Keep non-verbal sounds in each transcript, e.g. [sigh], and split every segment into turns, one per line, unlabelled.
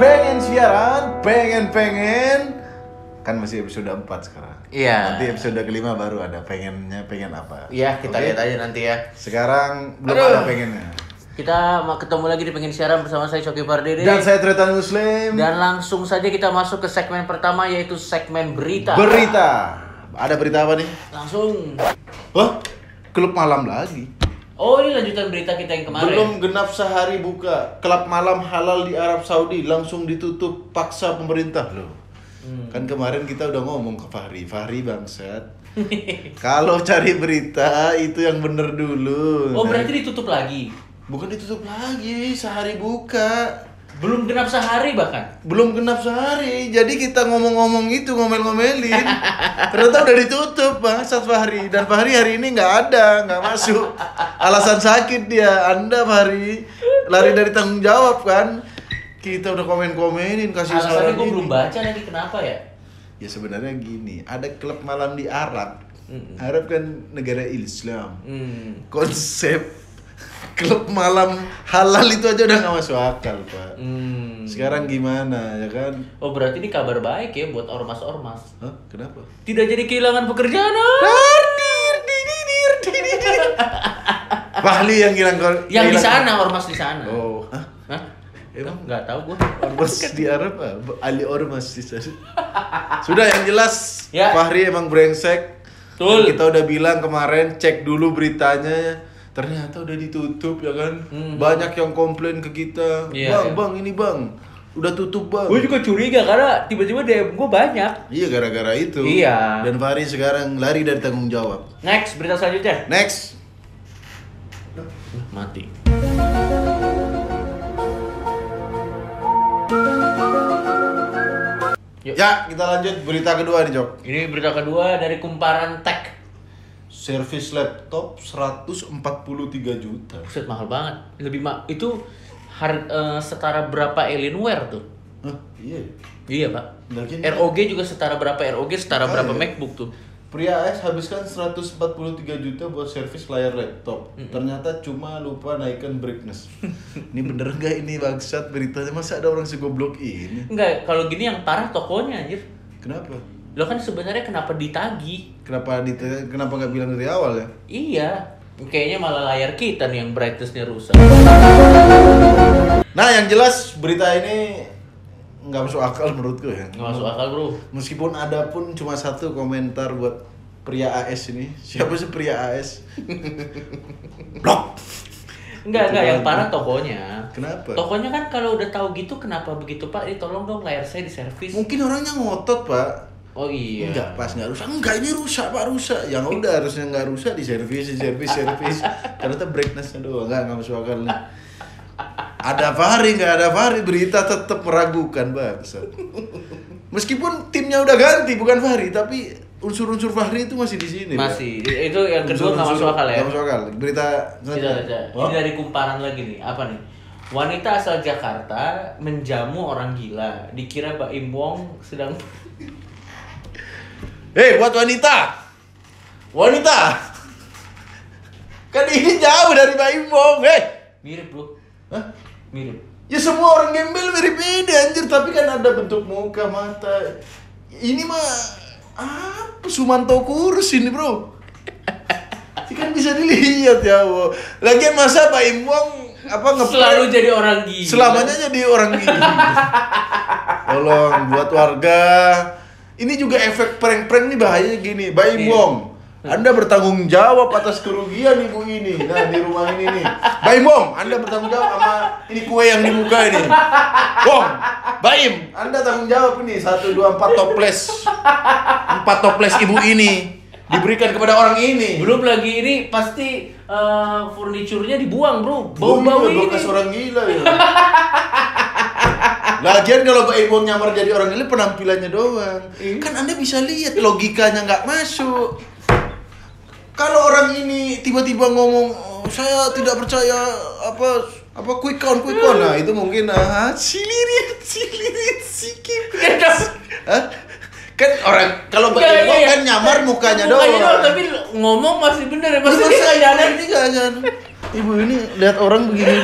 pengen siaran, pengen-pengen kan masih episode 4 sekarang.
Iya.
Nanti episode kelima baru ada pengennya pengen apa.
Iya, kita
Oke?
lihat aja nanti ya.
Sekarang belum
Aduh.
ada pengennya.
Kita mau ketemu lagi di pengen siaran bersama saya Coki Pardede.
Dan saya Tretan Muslim.
Dan langsung saja kita masuk ke segmen pertama yaitu segmen berita.
Berita. Ada berita apa nih?
langsung.
Wah, klub malam lagi.
Oh, ini lanjutan berita kita yang kemarin.
Belum genap sehari buka, klub malam halal di Arab Saudi langsung ditutup paksa pemerintah loh.
Hmm.
Kan kemarin kita udah ngomong ke Fahri, Fahri
[laughs]
bangsat. Kalau cari berita itu yang bener dulu.
Oh,
Nah,
berarti ditutup lagi.
bukan ditutup lagi, sehari buka.
Belum genap sehari bahkan.
Belum genap sehari, jadi kita ngomong-ngomong itu ngomel-ngomelin. Ternyata udah ditutup bangsat Fahri dan Fahri hari ini nggak ada, nggak masuk. Alasan sakit dia, Anda Fahri lari dari tanggung jawab kan. Kita udah komen-komenin kasih
Alasannya
saran.
gue
ini.
belum baca lagi kenapa ya?
Ya sebenarnya gini, ada klub malam di Arab. Arab kan negara Islam.
Hmm.
Konsep klub malam halal itu aja udah nggak masuk akal, Pak.
Hmm.
Sekarang gimana ya kan?
Oh, berarti ini kabar baik ya buat ormas-ormas.
Hah? Kenapa?
Tidak jadi kehilangan pekerjaan. ah.
Wahli yang hilang kor-
Yang di
hilang-
sana ormas di sana.
Oh, hah?
Hah?
Emang?
Enggak tahu gue.
Ormas di Arab apa? Ali ormas di sana. Sudah yang jelas
Ya.
Fahri emang brengsek.
Betul.
Dan Kita udah bilang kemarin cek dulu beritanya. Ternyata udah ditutup ya kan.
Hmm.
Banyak yang komplain ke kita.
Iya,
bang,
iya.
bang ini bang. Udah tutup bang.
Gue juga curiga karena tiba-tiba DM gue banyak.
Iya gara-gara itu.
Iya.
Dan Fahri sekarang lari dari tanggung jawab.
Next, berita selanjutnya.
Next.
Mati. Yuk.
Ya, kita lanjut berita kedua nih, Jok.
Ini berita kedua dari kumparan tech.
Servis laptop 143 juta.
Buset mahal banget. Lebih ma itu har eh, setara berapa Alienware tuh?
Hah, iya. Nah,
Iya, Pak. Iya,
Lagi
ROG juga setara berapa ROG setara
Makanya.
berapa MacBook tuh?
Pria AS habiskan 143 juta buat servis layar laptop. Ternyata cuma lupa naikkan brightness. [laughs] ini bener nggak ini bangsat beritanya? Masa ada orang segoblok ini?
Enggak, kalau gini yang parah tokonya anjir.
Kenapa?
Lo kan sebenarnya kenapa ditagi?
Kenapa di kenapa nggak bilang dari awal ya?
Iya. Kayaknya malah layar kita nih yang brightness-nya rusak.
Nah, yang jelas berita ini nggak masuk akal menurutku ya.
Nggak masuk akal, Bro.
Meskipun ada pun cuma satu komentar buat pria AS ini. [laughs] Siapa sih pria
[laughs]
AS? Blok. Itu
Enggak, enggak, yang
doang.
parah tokonya.
Kenapa?
Tokonya kan kalau udah tahu gitu kenapa begitu, Pak? Ini tolong dong layar saya diservis.
Mungkin orangnya ngotot, Pak.
Oh iya.
Enggak, pas nggak rusak. Enggak, ini rusak, Pak, rusak. Yang udah harusnya nggak rusak di servis, di servis,
[laughs]
servis. Ternyata brightness-nya doang, enggak nggak masuk akal. nih. Ada Fahri, nggak ada Fahri, berita tetap meragukan, bangsa. Meskipun timnya udah ganti, bukan Fahri, tapi unsur-unsur Fahri itu masih di sini. Pak.
Masih. Itu yang kedua nggak masuk
Unsur-unsur-
akal ya.
nggak masuk akal. Berita
Tidak, tidak. Ini dari kumparan lagi nih. Apa nih? Wanita asal Jakarta menjamu orang gila. Dikira Baim Wong sedang [laughs]
Hei, Eh, buat wanita. Wanita. Kan ini jauh dari Pak Imong, hei.
mirip, Bro.
Hah?
Mirip.
Ya semua orang gembel beda anjir, tapi kan ada bentuk muka, mata. Ini mah apa Sumanto kurus ini, Bro? Ini kan bisa dilihat ya, Wo. Lagian masa Pak Imong apa
Selalu
ngeplay
jadi orang gila.
selamanya jadi orang gini. Tolong buat warga. Ini juga efek prank-prank nih bahayanya gini. Bayi
Iya.
Wong, Anda bertanggung jawab atas kerugian ibu ini. Nah, di rumah ini nih. Bayi Wong, Anda bertanggung jawab sama ini kue yang dibuka ini. Wong, Baim, Anda tanggung jawab ini. Satu, dua, empat toples. Empat toples ibu ini. Diberikan kepada orang ini.
Belum lagi ini pasti eh, furniturnya dibuang, Bro. Bau-bau
Bau
ini.
bekas orang gila ya. [laughs] Lagian kalau Pak Ibon nyamar jadi orang gila penampilannya doang.
Iya.
Kan Anda bisa lihat logikanya nggak masuk. Kalau orang ini tiba-tiba ngomong "Oh, saya tidak percaya apa apa quick count quick count nah itu mungkin ah silirit silirit sikip Hah? kan orang kalau Pak Ibon
Nggak, Iya iya, iya.
kan nyamar mukanya doang.
Mukanya doang, tapi ngomong masih bener ya. Masih
Masa
nggak
ibu
ada.
ini gak ada. Ibu ini lihat orang begini.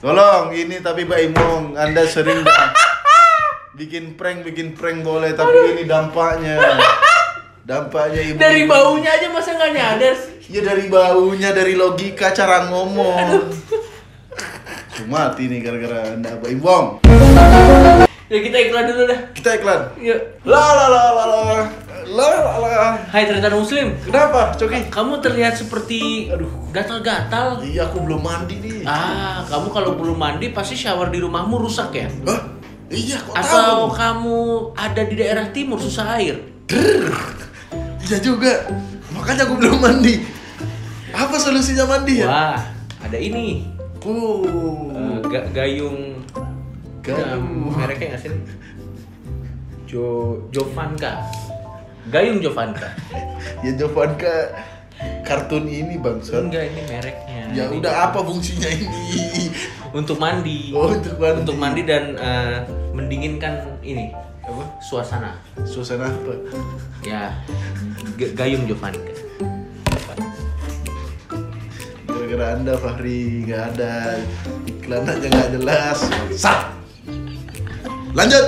Tolong ini tapi Pak Imong, Anda sering ba- bikin prank, bikin prank boleh tapi ini dampaknya. Dampaknya Ibu.
Dari baunya aja masa nggak nyadar sih?
Ya dari baunya, dari logika cara ngomong. Cuma mati nih gara-gara Anda Pak Imong.
Ya kita iklan dulu dah.
Kita iklan.
Yuk.
La la la la la. La la la.
Hai Tretan Muslim.
Kenapa, Coki?
Kamu terlihat seperti
Aduh.
gatal-gatal.
Iya, aku belum mandi nih.
Ah, kamu kalau belum mandi pasti shower di rumahmu rusak ya?
Hah? Iya, kok tahu?
Atau kamu ada di daerah timur susah air?
Iya juga. Makanya aku belum mandi. Apa solusinya mandi ya?
Wah, ada ini.
Uh,
Eh, ga- gayung
Gayung.
Nah, mereknya nggak sih? Jo Jovanka. Gayung Jovanka.
ya Jovanka kartun ini bangsat.
Enggak ini mereknya.
Ya
Ini
udah apa fungsinya ini?
Untuk mandi.
Oh, untuk mandi.
Untuk mandi dan eh, mendinginkan ini
Apa?
suasana.
Suasana apa?
Ya. G- gayung Jovanka.
Gara-gara anda Fahri nggak ada iklan aja nggak jelas. Sat. Lanjut.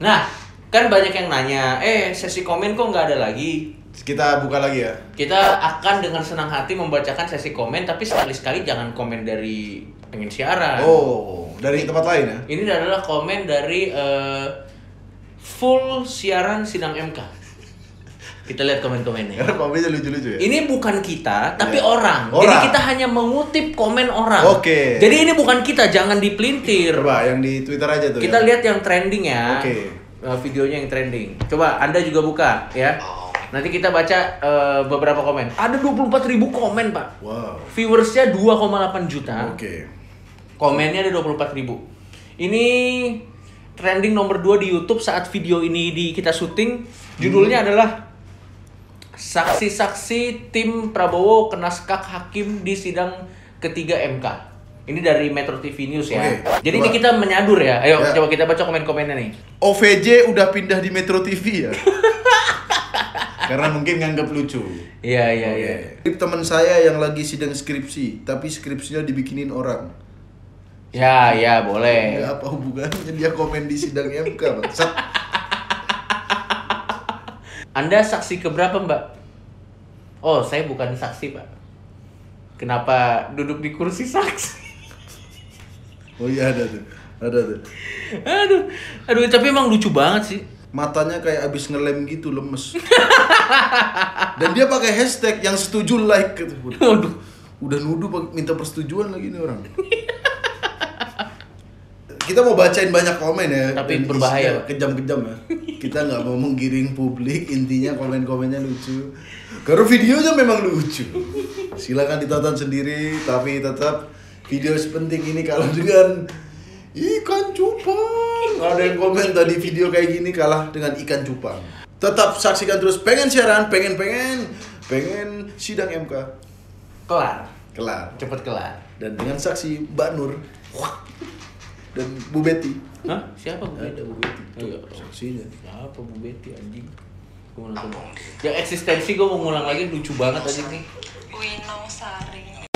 Nah, kan banyak yang nanya, eh sesi komen kok nggak ada lagi?
Kita buka lagi ya.
Kita akan dengan senang hati membacakan sesi komen, tapi sekali-sekali jangan komen dari pengen siaran.
Oh, dari tempat lain ya?
Ini adalah komen dari eh, full siaran sidang MK. Kita lihat komen-komennya.
Karena pamitnya lucu-lucu ya.
Ini bukan kita, tapi
Iya.
orang. Jadi
Orang.
kita hanya mengutip komen orang.
Oke.
Jadi ini bukan kita, jangan dipelintir.
Coba yang di Twitter aja tuh.
Kita
ya.
lihat yang trending ya.
Oke.
Eh, videonya yang trending. Coba Anda juga buka ya. Nanti kita baca eh, beberapa komen. Ada 24.000 komen, Pak.
Wow.
Viewersnya 2,8 juta.
Oke.
Komennya ada 24.000 Ini trending nomor 2 di YouTube saat video ini di kita syuting. Judulnya
Hmm.
adalah Saksi-saksi tim Prabowo kena skak hakim di sidang ketiga MK. Ini dari Metro TV News ya.
Oke,
Jadi
coba.
ini kita menyadur ya. Ayo
Ya.
coba kita baca komen-komennya nih.
OVJ udah pindah di Metro
[laughs]
TV ya? Karena mungkin nganggap lucu.
Iya, iya, iya.
Skrip teman saya yang lagi sidang skripsi, tapi skripsinya dibikinin orang.
Ya, ya, boleh.
Ya apa hubungannya dia komen di sidang MK, bangsat.
Anda saksi keberapa, Mbak? Oh, saya bukan saksi, Pak. Kenapa duduk di kursi saksi?
Oh iya ada tuh. Ada tuh.
aduh aduh tapi emang lucu banget sih
Matanya kayak abis ngelem gitu,
[laughs]
lemes. Dan dia pakai hashtag yang setuju like gitu.
Waduh.
Udah nuduh pak- minta persetujuan lagi nih orang. Kita mau bacain banyak komen ya.
Tapi
dan
berbahaya,
isinya
Pak.
Kejam-kejam ya. Kita nggak mau menggiring publik, intinya komen-komennya lucu. Karena videonya memang lucu. Silakan ditonton sendiri, tapi tetap video sepenting ini kalau dengan ikan cupang. Ada yang komen tadi video kayak gini kalah dengan ikan cupang. Tetap saksikan terus pengen siaran, pengen pengen pengen sidang MK
kelar
kelar
cepet kelar
dan dengan saksi Mbak Nur dan Bu Betty
Hah? siapa Bu
ada
Betty
Bu Betty
Oh, iya.
saksinya
siapa Bu Betty anjing Ya, Gua mau nonton. yang eksistensi gue mau ngulang lagi lucu banget aja nih
Winong Sari.